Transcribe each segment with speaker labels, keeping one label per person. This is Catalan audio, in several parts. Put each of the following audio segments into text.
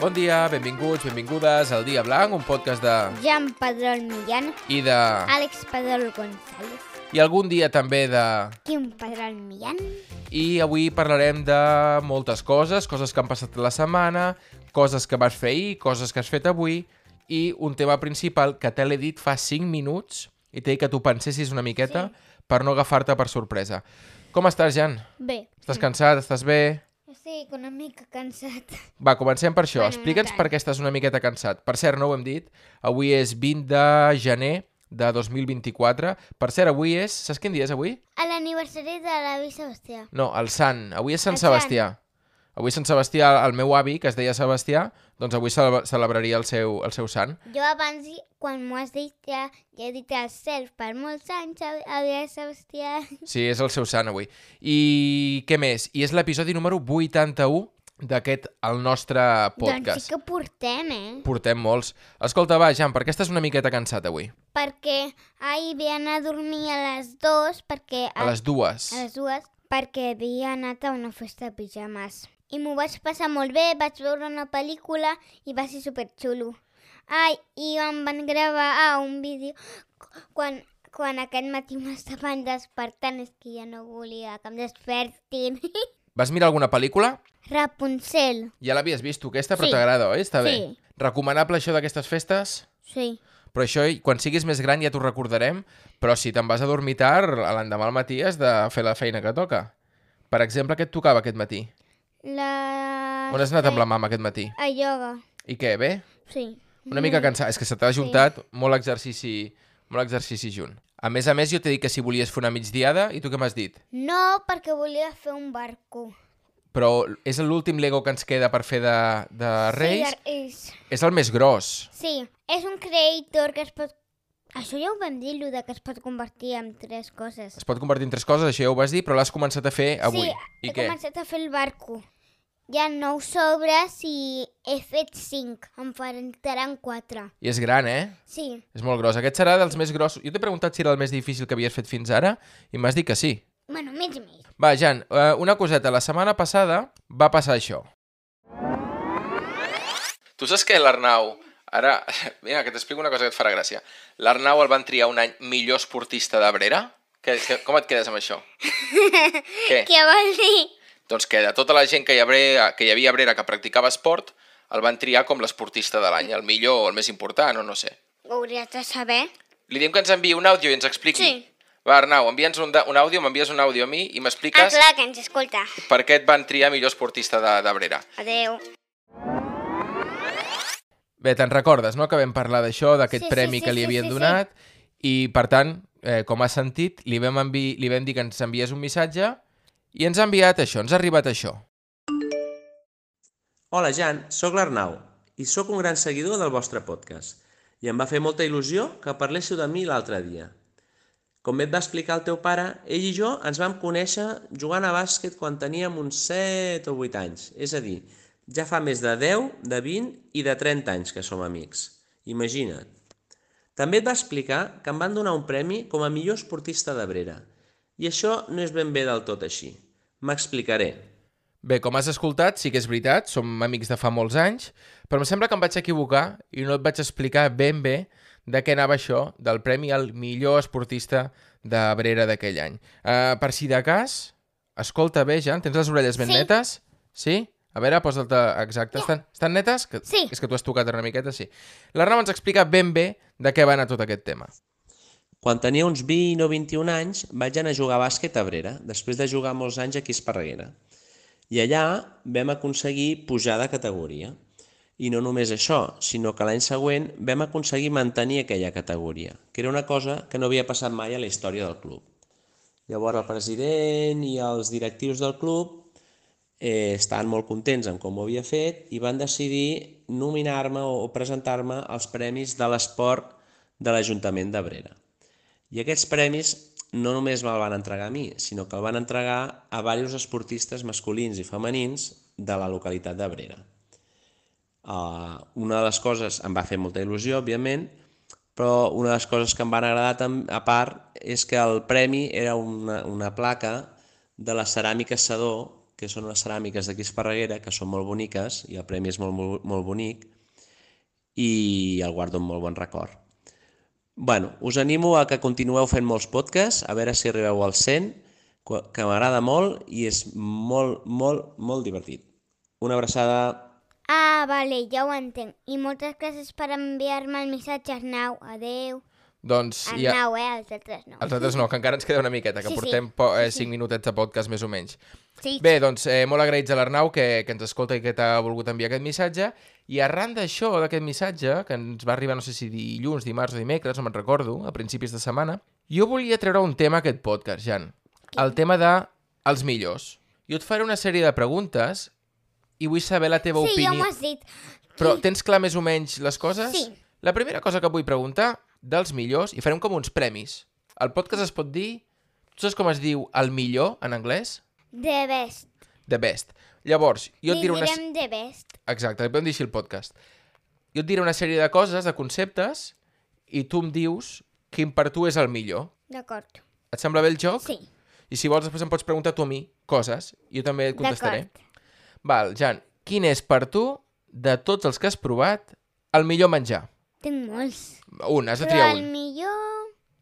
Speaker 1: Bon dia, benvinguts, benvingudes al Dia Blanc, un podcast de...
Speaker 2: Jan Pedrol Millán,
Speaker 1: i de...
Speaker 2: Àlex Pedrol González,
Speaker 1: i algun dia també de...
Speaker 2: Quim Pedrol Millán,
Speaker 1: I avui parlarem de moltes coses, coses que han passat la setmana, coses que vas fer ahir, coses que has fet avui, i un tema principal que te l'he dit fa 5 minuts i t'he dit que tu pensessis una miqueta sí. per no agafar-te per sorpresa. Com estàs, Jan?
Speaker 2: Bé,
Speaker 1: Estàs cansat? Estàs bé?
Speaker 2: estic una mica cansat.
Speaker 1: Va, comencem per això.
Speaker 2: Bueno, no
Speaker 1: Explica'ns
Speaker 2: tant.
Speaker 1: per què estàs una miqueta cansat. Per cert, no ho hem dit, avui és 20 de gener de 2024. Per cert, avui és... Saps quin dia és avui?
Speaker 2: A l'aniversari de l'avi Sebastià.
Speaker 1: No, el Sant. Avui és Sant
Speaker 2: El Sant.
Speaker 1: Sebastià. Avui Sant Sebastià, el meu avi, que es deia Sebastià, doncs avui celebra- celebraria el seu, el seu sant.
Speaker 2: Jo abans, i- quan m'ho has dit, ja, ja he dit el cel per molts anys, a- avi Sebastià.
Speaker 1: Sí, és el seu sant avui. I què més? I és l'episodi número 81 d'aquest, el nostre
Speaker 2: Doncs
Speaker 1: podcast.
Speaker 2: sí que portem, eh?
Speaker 1: Portem molts. Escolta, va, Jan, per què estàs una miqueta cansat avui?
Speaker 2: Perquè ahir ve anar a dormir a les dues, perquè...
Speaker 1: A les dues.
Speaker 2: Ah. a les dues perquè havia anat a una festa de pijamas. I m'ho vaig passar molt bé, vaig veure una pel·lícula i va ser superxulo. Ai, i em van gravar ah, un vídeo qu- quan, quan aquest matí m'estaven despertant, és que ja no volia que em despertin.
Speaker 1: Vas mirar alguna pel·lícula?
Speaker 2: Rapunzel,
Speaker 1: Ja l'havies vist tu aquesta, però
Speaker 2: Sí.
Speaker 1: t'agrada, oi? Està bé.
Speaker 2: Sí.
Speaker 1: Recomanable això d'aquestes festes?
Speaker 2: sí.
Speaker 1: Però això, quan siguis més gran, ja t'ho recordarem, però si te'n vas a dormir tard, a l'endemà al matí has de fer la feina que toca. Per exemple, què et tocava aquest matí?
Speaker 2: La...
Speaker 1: On has anat amb la mama aquest matí?
Speaker 2: A ioga,
Speaker 1: I què, bé?
Speaker 2: sí.
Speaker 1: Una
Speaker 2: Mm.
Speaker 1: mica cansat. És que se t'ha ajuntat molt exercici, molt exercici junt. A més a més, jo t'he dit que si volies fer una migdiada, i tu què m'has dit?
Speaker 2: No, perquè volia fer un barco.
Speaker 1: Però és l'últim Lego que ens queda per fer de, de Reis.
Speaker 2: Sí, de Reis.
Speaker 1: És el més gros.
Speaker 2: Sí, és un creator que es pot... Això ja ho vam dir, lo de que es pot convertir en tres coses.
Speaker 1: Es pot convertir en tres coses, això ja ho vas dir, però l'has començat a fer avui.
Speaker 2: sí,
Speaker 1: I
Speaker 2: he
Speaker 1: què?
Speaker 2: començat a fer el barco. Hi ha nou sobres i he fet cinc. Em faltaran quatre.
Speaker 1: I és gran, eh?
Speaker 2: Sí,
Speaker 1: És molt gros. Aquest serà dels més grossos. Jo t'he preguntat si era el més difícil que havies fet fins ara i m'has dit que sí.
Speaker 2: bueno, mig i mig.
Speaker 1: Va, Jan, eh, una coseta. La setmana passada va passar això. Tu saps que l'Arnau... Ara, mira, que t'explico una cosa que et farà gràcia. L'Arnau el van triar un any millor esportista d'Abrera? Que, que, com et quedes amb això? Què?
Speaker 2: Què vol dir?
Speaker 1: Doncs que de tota la gent que hi, havia, que hi havia a Abrera que practicava esport, el van triar com l'esportista de l'any, el millor o el més important, o no sé.
Speaker 2: Ho hauries de saber. Ah,
Speaker 1: Li diem que ens enviï un àudio i ens expliqui.
Speaker 2: Sí.
Speaker 1: Va, Arnau, envia'ns un, da- un àudio, m'envies un àudio a mi i
Speaker 2: Ah,
Speaker 1: m'expliques
Speaker 2: clar, que ens escolta.
Speaker 1: per què et van triar millor esportista de- d'Abrera.
Speaker 2: Adeu.
Speaker 1: Bé, te'n recordes, no?, que vam parlar d'això, d'aquest
Speaker 2: Sí, sí,
Speaker 1: premi
Speaker 2: sí,
Speaker 1: que li
Speaker 2: sí,
Speaker 1: havien
Speaker 2: sí, sí.
Speaker 1: donat, i, per tant, eh, com has sentit, li vam, envi... li vam dir que ens enviés un missatge i ens ha enviat això, ens ha arribat això.
Speaker 3: Hola Jan, sóc l'Arnau i sóc un gran seguidor del vostre podcast i em va fer molta il·lusió que parléssiu de mi l'altre dia. Com bé et va explicar el teu pare, ell i jo ens vam conèixer jugant a bàsquet quan teníem uns 7 o 8 anys, és a dir, ja fa més de 10, de 20 i de 30 anys que som amics. Imagina't. També et va explicar que em van donar un premi com a millor esportista d'Abrera. I això no és ben bé del tot així. M'explicaré.
Speaker 1: Bé, com has escoltat, sí que és veritat, som amics de fa molts anys, però em sembla que em vaig equivocar i no et vaig explicar ben bé de què anava això del premi al millor esportista de Brera d'aquell any. Uh, per si de cas, escolta bé, Jan, tens les orelles ben
Speaker 2: Sí.
Speaker 1: netes? Sí? A veure, posa't exacte. Estan, estan netes? Que,
Speaker 2: Sí.
Speaker 1: És que tu has tocat una miqueta, sí. L'Arnau ens explica ben bé de què va anar tot aquest tema.
Speaker 3: Quan tenia uns 20 o 21 anys vaig anar a jugar a bàsquet a Brera, després de jugar molts anys aquí a Esparreguera. I allà vam aconseguir pujar de categoria. I no només això, sinó que l'any següent vam aconseguir mantenir aquella categoria, que era una cosa que no havia passat mai a la història del club. Llavors el president i els directius del club eh, estaven molt contents amb com ho havia fet i van decidir nominar-me o o presentar-me als Premis de l'Esport de l'Ajuntament d'Abrera. I aquests premis no només me'l van entregar a mi, sinó que el van entregar a diversos esportistes masculins i femenins de la localitat d'Abrera. Uh, una de les coses em va fer molta il·lusió, òbviament, però una de les coses que em van agradar tam- a part és que el premi era una, una placa de la ceràmica Sedó que són unes ceràmiques d'aquí Esparreguera, que són molt boniques, i el premi és molt, molt, molt bonic, i el guardo amb molt bon record. bueno, us animo a que continueu fent molts podcasts, a veure si arribeu al 100, que que m'agrada molt i és molt, molt, molt divertit. Una abraçada.
Speaker 2: Ah, vale, ja ho entenc. I moltes gràcies per enviar-me el missatge, Arnau. Adeu.
Speaker 1: Doncs ja...
Speaker 2: Arnau, eh? Els altres no.
Speaker 1: Els altres no, que encara ens queda una miqueta, que
Speaker 2: Sí, sí.
Speaker 1: portem po eh,
Speaker 2: Sí, sí.
Speaker 1: 5 minutets de podcast més o menys.
Speaker 2: Sí,
Speaker 1: Bé, doncs eh, molt agraïts a l'Arnau que, que ens escolta i que t'ha volgut enviar aquest missatge. I arran d'això, d'aquest missatge, que ens va arribar, no sé si dilluns, dimarts o dimecres, no me'n recordo, a principis de setmana, jo volia treure un tema a aquest podcast, Jan. El tema de els millors. Jo et faré una sèrie de preguntes i vull saber la teva
Speaker 2: sí ja m'ho
Speaker 1: opinió.
Speaker 2: has dit.
Speaker 1: Però tens clar més o menys les coses?
Speaker 2: Sí.
Speaker 1: La primera cosa que et vull preguntar, dels millors, i farem com uns premis. El podcast es pot dir... Tu saps com es diu el millor en anglès?
Speaker 2: The best.
Speaker 1: The best. Llavors, jo et
Speaker 2: Li
Speaker 1: diré una...
Speaker 2: direm the best.
Speaker 1: Exacte, li podem dir així el podcast. Jo et diré una sèrie de coses, de conceptes, i tu em dius quin per tu és el millor.
Speaker 2: D'acord.
Speaker 1: Et sembla bé el joc?
Speaker 2: Sí.
Speaker 1: I si vols, després em pots preguntar tu a mi coses. Jo també et contestaré. Val, Jan, quin és per tu, de tots els que has provat, el millor menjar?
Speaker 2: Tinc molts.
Speaker 1: Un, has de
Speaker 2: Però
Speaker 1: triar
Speaker 2: el
Speaker 1: un.
Speaker 2: millor...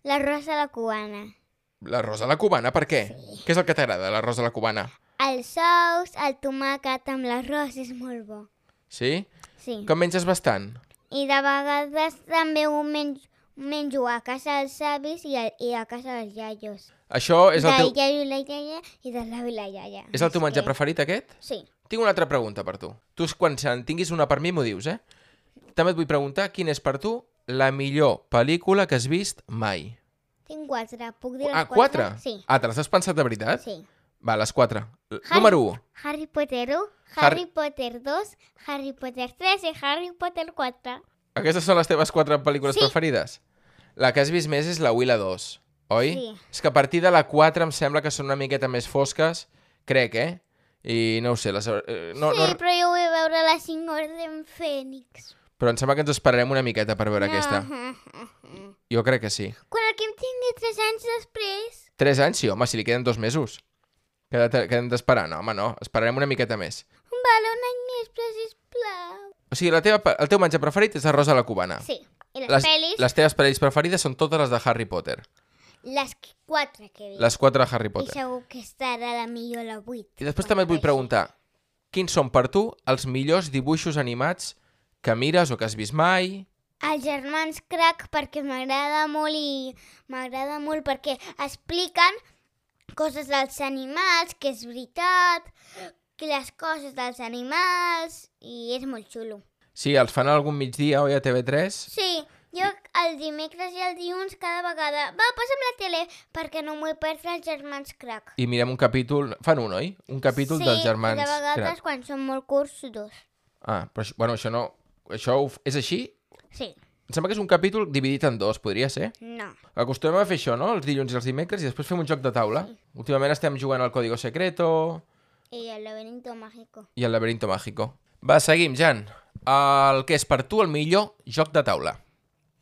Speaker 2: L'arròs a la cubana.
Speaker 1: L'arròs a la cubana, per què? Què és el que t'agrada, l'arròs a la cubana?
Speaker 2: El sous, el tomàquet amb l'arròs és molt bo.
Speaker 1: Sí?
Speaker 2: Sí.
Speaker 1: Que en menges bastant?
Speaker 2: I de vegades també ho menjo, menjo a casa dels avis i a, i a casa dels iaios.
Speaker 1: Això és
Speaker 2: del
Speaker 1: el teu,
Speaker 2: iaio i la iaia i de l'avi i la iaia.
Speaker 1: és el teu menjar
Speaker 2: que-
Speaker 1: preferit, aquest?
Speaker 2: Sí.
Speaker 1: Tinc una altra pregunta per tu. Tu, quan en tinguis una per mi, m'ho dius, eh? També et vull preguntar quina és per tu la millor pel·lícula que has vist mai.
Speaker 2: Tinc quatre. Puc dir
Speaker 1: ah,
Speaker 2: les
Speaker 1: quatre?
Speaker 2: Sí.
Speaker 1: Ah, te les has pensat de veritat?
Speaker 2: sí.
Speaker 1: Va, les quatre. L-
Speaker 2: Harry-
Speaker 1: Número 1.
Speaker 2: Harry Potter 1,
Speaker 1: Har-
Speaker 2: Harry Potter 2, Harry Potter 3 i Harry Potter 4.
Speaker 1: Aquestes són les teves quatre pel·lícules
Speaker 2: Sí.
Speaker 1: preferides? La que has vist més és la 1 i la 2, oi?
Speaker 2: Sí.
Speaker 1: És que a partir de la 4 em sembla que són una miqueta més fosques, crec, eh? I no ho sé, les... eh, No,
Speaker 2: sí,
Speaker 1: no...
Speaker 2: però jo vull veure la 5 Orden Fènix.
Speaker 1: però em sembla que ens esperarem una miqueta per veure aquesta. Jo crec que sí.
Speaker 2: Quan el Quim tingui 3 anys després...
Speaker 1: 3 anys, sí, home, si li queden dos mesos. Queda- Quedem d'esperar, no, home, no. Esperarem una miqueta més.
Speaker 2: Vale, un any més, però sisplau.
Speaker 1: O sigui, la teva, el teu menjar preferit és arròs a la cubana.
Speaker 2: Sí, i les, pel·lis, les...
Speaker 1: les teves pel·lis preferides són totes les de Harry Potter.
Speaker 2: les qu- quatre que he vist.
Speaker 1: Les quatre de Harry
Speaker 2: I
Speaker 1: Potter.
Speaker 2: segur que estarà la millor la 8.
Speaker 1: I després també et vull preguntar, quins són per tu els millors dibuixos animats que mires o que has vist mai?
Speaker 2: Els germans Crac perquè m'agrada molt i m'agrada molt perquè expliquen coses dels animals, que és veritat, que les coses dels animals i és molt xulo.
Speaker 1: Sí, els fan algun migdia, oi, a TV3?
Speaker 2: Sí, jo el dimecres i el dilluns cada vegada va, posa'm la tele perquè no m'ho he perdre els germans Crac.
Speaker 1: I mirem un capítol... Fan un, oi? Un capítol
Speaker 2: sí,
Speaker 1: dels germans...
Speaker 2: de vegades
Speaker 1: Crac.
Speaker 2: quan són molt curts, dos.
Speaker 1: Ah, però això, bueno, això no... Això ho f- és així?
Speaker 2: Sí,
Speaker 1: Em sembla que és un capítol dividit en dos, podria ser?
Speaker 2: no.
Speaker 1: Acostumem a fer això, no? Els dilluns i els dimecres i després fem un joc de taula. Últimament estem jugant al Código Secreto
Speaker 2: Y el laberinto mágico.
Speaker 1: i al Laberinto Mágico. Va, seguim, Jan. El que és per tu el millor joc de taula.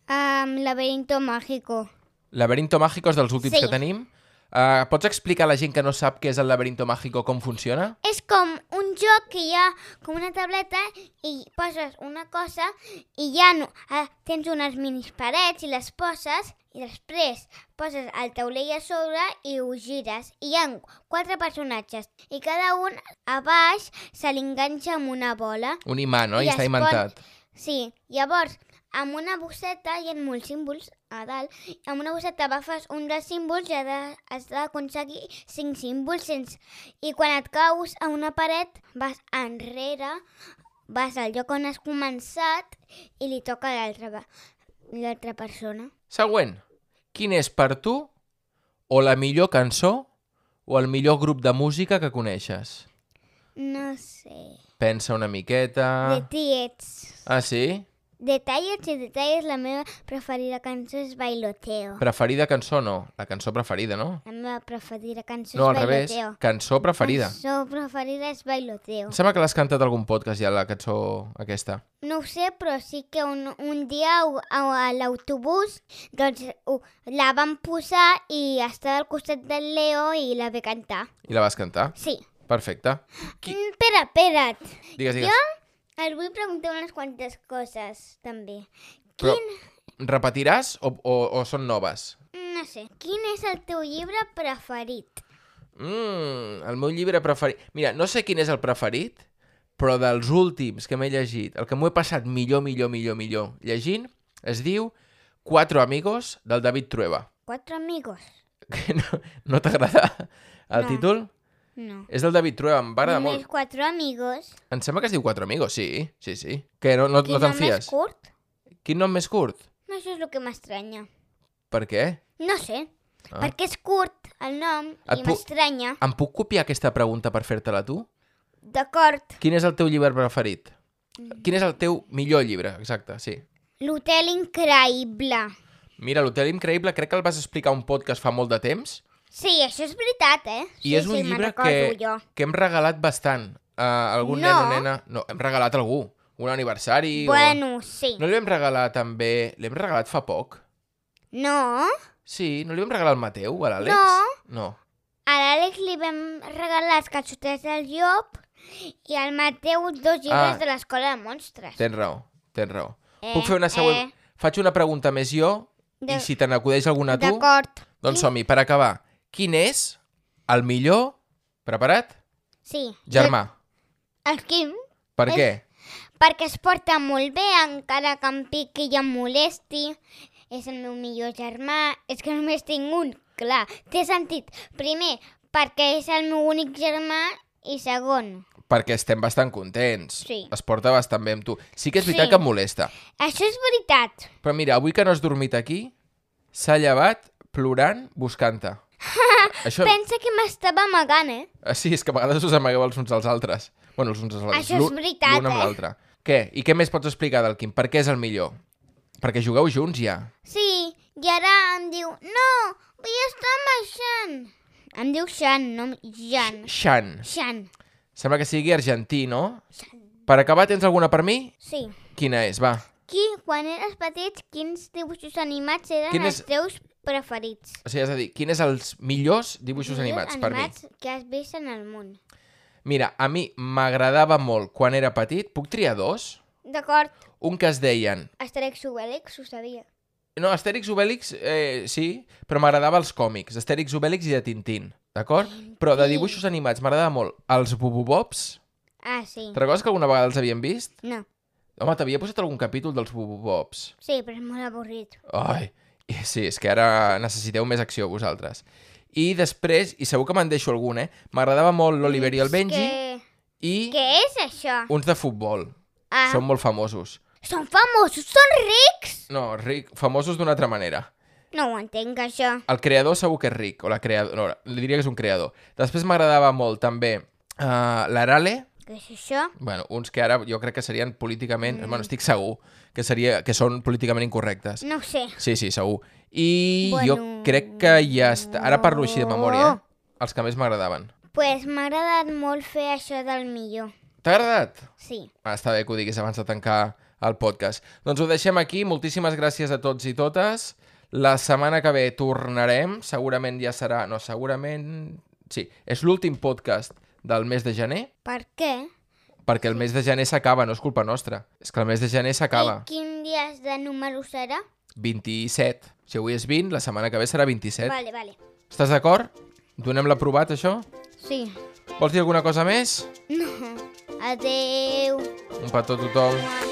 Speaker 2: Um, laberinto mágico.
Speaker 1: Laberinto Mágico és dels últims
Speaker 2: Sí.
Speaker 1: que tenim. Uh, pots explicar a la gent que no sap què és el Laberinto Mágico com funciona?
Speaker 2: És com un joc que hi ha com una tableta i poses una cosa i ja no, ah, tens unes minis parets i les poses i després poses el taulell a sobre i ho gires. I hi ha quatre personatges i cada un a baix se li enganxa amb una bola.
Speaker 1: Un imant, no? I
Speaker 2: I
Speaker 1: està
Speaker 2: es pon-
Speaker 1: inventat.
Speaker 2: Sí, llavors, amb una bosseta hi ha molts símbols a dalt. Amb una bosseta agafes un dels símbols i ha de- has d'aconseguir cinc símbols. Sense... I quan et caus a una paret, vas enrere, vas al lloc on has començat i li toca a l'altra va- l'altra persona.
Speaker 1: Següent. Quin és per tu o la millor cançó o el millor grup de música que coneixes?
Speaker 2: No sé.
Speaker 1: Pensa una
Speaker 2: De
Speaker 1: miqueta...
Speaker 2: tiets.
Speaker 1: Ah, sí?
Speaker 2: De tallets i detalles, la meva preferida cançó és Bailoteo.
Speaker 1: Preferida cançó no. La cançó preferida, no?
Speaker 2: La meva preferida cançó
Speaker 1: No, al
Speaker 2: és
Speaker 1: revés.
Speaker 2: Bailoteo.
Speaker 1: Cançó preferida.
Speaker 2: La cançó preferida és Bailoteo.
Speaker 1: Em sembla que l'has cantat a algun podcast ja, la cançó aquesta.
Speaker 2: No ho sé, però sí que un, un dia ho- a a l'autobús doncs, ho- la van posar i estava al costat del Leo i la ve cantar.
Speaker 1: I la vas cantar.
Speaker 2: Sí,
Speaker 1: Perfecte. Qui-
Speaker 2: Mm, Espera, espera't.
Speaker 1: Digues, digues.
Speaker 2: Jo et vull preguntar unes quantes coses, també.
Speaker 1: Però repetiràs o, o, o són noves?
Speaker 2: No sé. Quin és el teu llibre preferit?
Speaker 1: Mm, el meu llibre preferit... Mira, no sé quin és el preferit, però dels últims que m'he llegit, el que m'ho he passat millor, millor, millor, millor llegint, es diu Quatre amigos del David Trueba.
Speaker 2: Quatre amigos?
Speaker 1: Que no no t'agrada el
Speaker 2: No.
Speaker 1: títol?
Speaker 2: No.
Speaker 1: És del David Trueba, em va agradar
Speaker 2: només
Speaker 1: molt.
Speaker 2: quatre amigos.
Speaker 1: Em sembla que es diu Quatre amigos, sí, sí, sí. Que no, no, no te'n
Speaker 2: més
Speaker 1: fies.
Speaker 2: curt?
Speaker 1: Quin nom més curt?
Speaker 2: No, això és el que m'estranya.
Speaker 1: Per què?
Speaker 2: No sé.
Speaker 1: Ah.
Speaker 2: Perquè és curt el nom
Speaker 1: Et
Speaker 2: i
Speaker 1: puc-
Speaker 2: m'estranya.
Speaker 1: Em puc copiar aquesta pregunta per fer-te-la tu?
Speaker 2: D'acord.
Speaker 1: Quin és el teu llibre preferit?
Speaker 2: Mm.
Speaker 1: Quin és el teu millor llibre? Exacte, sí.
Speaker 2: L'hotel increïble.
Speaker 1: Mira, l'Hotel Increïble crec que el vas explicar a un podcast fa molt de temps
Speaker 2: Sí, això és veritat, eh?
Speaker 1: i
Speaker 2: sí,
Speaker 1: és un
Speaker 2: sí, me'n
Speaker 1: llibre
Speaker 2: recordo
Speaker 1: que,
Speaker 2: Jo.
Speaker 1: que hem regalat bastant a algun
Speaker 2: No.
Speaker 1: nen o nena. No, hem regalat a algú. Un aniversari o...
Speaker 2: Bueno, sí.
Speaker 1: No li vam regalar també... L'hem regalat fa poc?
Speaker 2: No,
Speaker 1: Sí, no li vam regalar al Mateu, a l'Àlex? No.
Speaker 2: a l'Àlex li vam regalar els calçotets del Llop i al Mateu dos llibres
Speaker 1: Ah.
Speaker 2: de l'escola de monstres.
Speaker 1: Tens raó, tens raó.
Speaker 2: Eh,
Speaker 1: Puc fer una següent?
Speaker 2: eh.
Speaker 1: Faig una pregunta més jo i
Speaker 2: De-
Speaker 1: si te n'acudeix alguna a tu...
Speaker 2: D'acord.
Speaker 1: Doncs som-hi, per acabar. Quin és el millor... Preparat?
Speaker 2: Sí.
Speaker 1: Germà.
Speaker 2: El Quim, Eh.
Speaker 1: Per què?
Speaker 2: perquè es porta molt bé, encara que em piqui i em molesti. És el meu millor germà. És que només tinc un, clar. Té sentit. Primer, perquè és el meu únic germà i segon,
Speaker 1: Perquè estem bastant contents.
Speaker 2: Sí.
Speaker 1: Es porta bastant bé amb tu. Sí que és veritat
Speaker 2: Sí.
Speaker 1: que em molesta.
Speaker 2: això és veritat.
Speaker 1: Però mira, avui que no has dormit aquí, s'ha llevat plorant buscant-te. Això...
Speaker 2: Pensa que m'estava amagant, eh?
Speaker 1: Ah, Sí, és que a vegades us amagueu els uns als altres. Bueno, els uns als altres.
Speaker 2: Això és
Speaker 1: L'un-
Speaker 2: veritat,
Speaker 1: L'un amb
Speaker 2: eh?
Speaker 1: l'altre. Què? I què més pots explicar del Quim? Per què és el millor? Perquè jugueu junts ja.
Speaker 2: Sí, i ara em diu, no, vull estar amb el Xan. Em diu Xan, no amb Jan.
Speaker 1: Xan.
Speaker 2: Xan,
Speaker 1: Sembla que sigui argentí, no? Per acabar, tens alguna per mi?
Speaker 2: sí.
Speaker 1: Quina és? Va.
Speaker 2: Qui, quan eres petit, quins dibuixos animats eren
Speaker 1: Quin és-
Speaker 2: els teus preferits?
Speaker 1: O sigui, és a dir, quins és els millors dibuixos animats, per mi?
Speaker 2: animats que has vist en el món.
Speaker 1: Mira, a mi m'agradava molt quan era petit. Puc triar dos?
Speaker 2: D'acord,
Speaker 1: Un que es deien...
Speaker 2: Asterix Obelix, ho sabia.
Speaker 1: No, Astèrix Obélix, eh, sí, però m'agradava els còmics. Astèrix Obélix i de Tintín, d'acord? Però de dibuixos animats m'agradava molt els Bububobs.
Speaker 2: Ah, sí.
Speaker 1: Te'n recordes que alguna vegada els havíem vist?
Speaker 2: No,
Speaker 1: Home, t'havia posat algun capítol dels Bububobs.
Speaker 2: sí, però és molt avorrit.
Speaker 1: Ai, i sí, és que ara necessiteu més acció vosaltres. I després, i segur que me'n deixo algun, eh? M'agradava molt l'Oliver i el Benji Oh,
Speaker 2: Que...
Speaker 1: i
Speaker 2: Què és això?
Speaker 1: uns de futbol.
Speaker 2: Ah,
Speaker 1: Són molt famosos.
Speaker 2: Són famosos, són rics!
Speaker 1: No, ric, famosos d'una altra manera.
Speaker 2: No ho entenc, això.
Speaker 1: El creador segur que és ric, o la creadora, no, li diria que és un creador. Després m'agradava molt també uh, l'Arale,
Speaker 2: Què és això?
Speaker 1: bueno, uns que ara jo crec que serien políticament, mm. bueno, estic segur, que, seria, que són políticament incorrectes.
Speaker 2: No ho sé.
Speaker 1: Sí, sí, segur. I bueno... jo
Speaker 2: Bueno,
Speaker 1: crec que ja està. Ara parlo així de memòria,
Speaker 2: no.
Speaker 1: eh? Els que més m'agradaven.
Speaker 2: Pues m'ha agradat molt fer això del millor.
Speaker 1: T'ha agradat?
Speaker 2: Sí.
Speaker 1: Ah, està bé que ho diguis abans de tancar el podcast. Doncs ho deixem aquí. Moltíssimes gràcies a tots i totes. La setmana que ve tornarem. Segurament ja serà... No, segurament... Sí, és l'últim podcast del mes de gener,
Speaker 2: Per què?
Speaker 1: perquè el mes de gener s'acaba, no és culpa nostra. És que el mes de gener s'acaba.
Speaker 2: I Eh, quin dia és de número serà?
Speaker 1: 27. Si avui és 20, la setmana que ve serà 27.
Speaker 2: Vale, vale.
Speaker 1: Estàs d'acord? Donem l'aprovat, això?
Speaker 2: Sí.
Speaker 1: Vols dir alguna cosa més?
Speaker 2: Adeu.
Speaker 1: Un petó a tothom.
Speaker 2: Mua.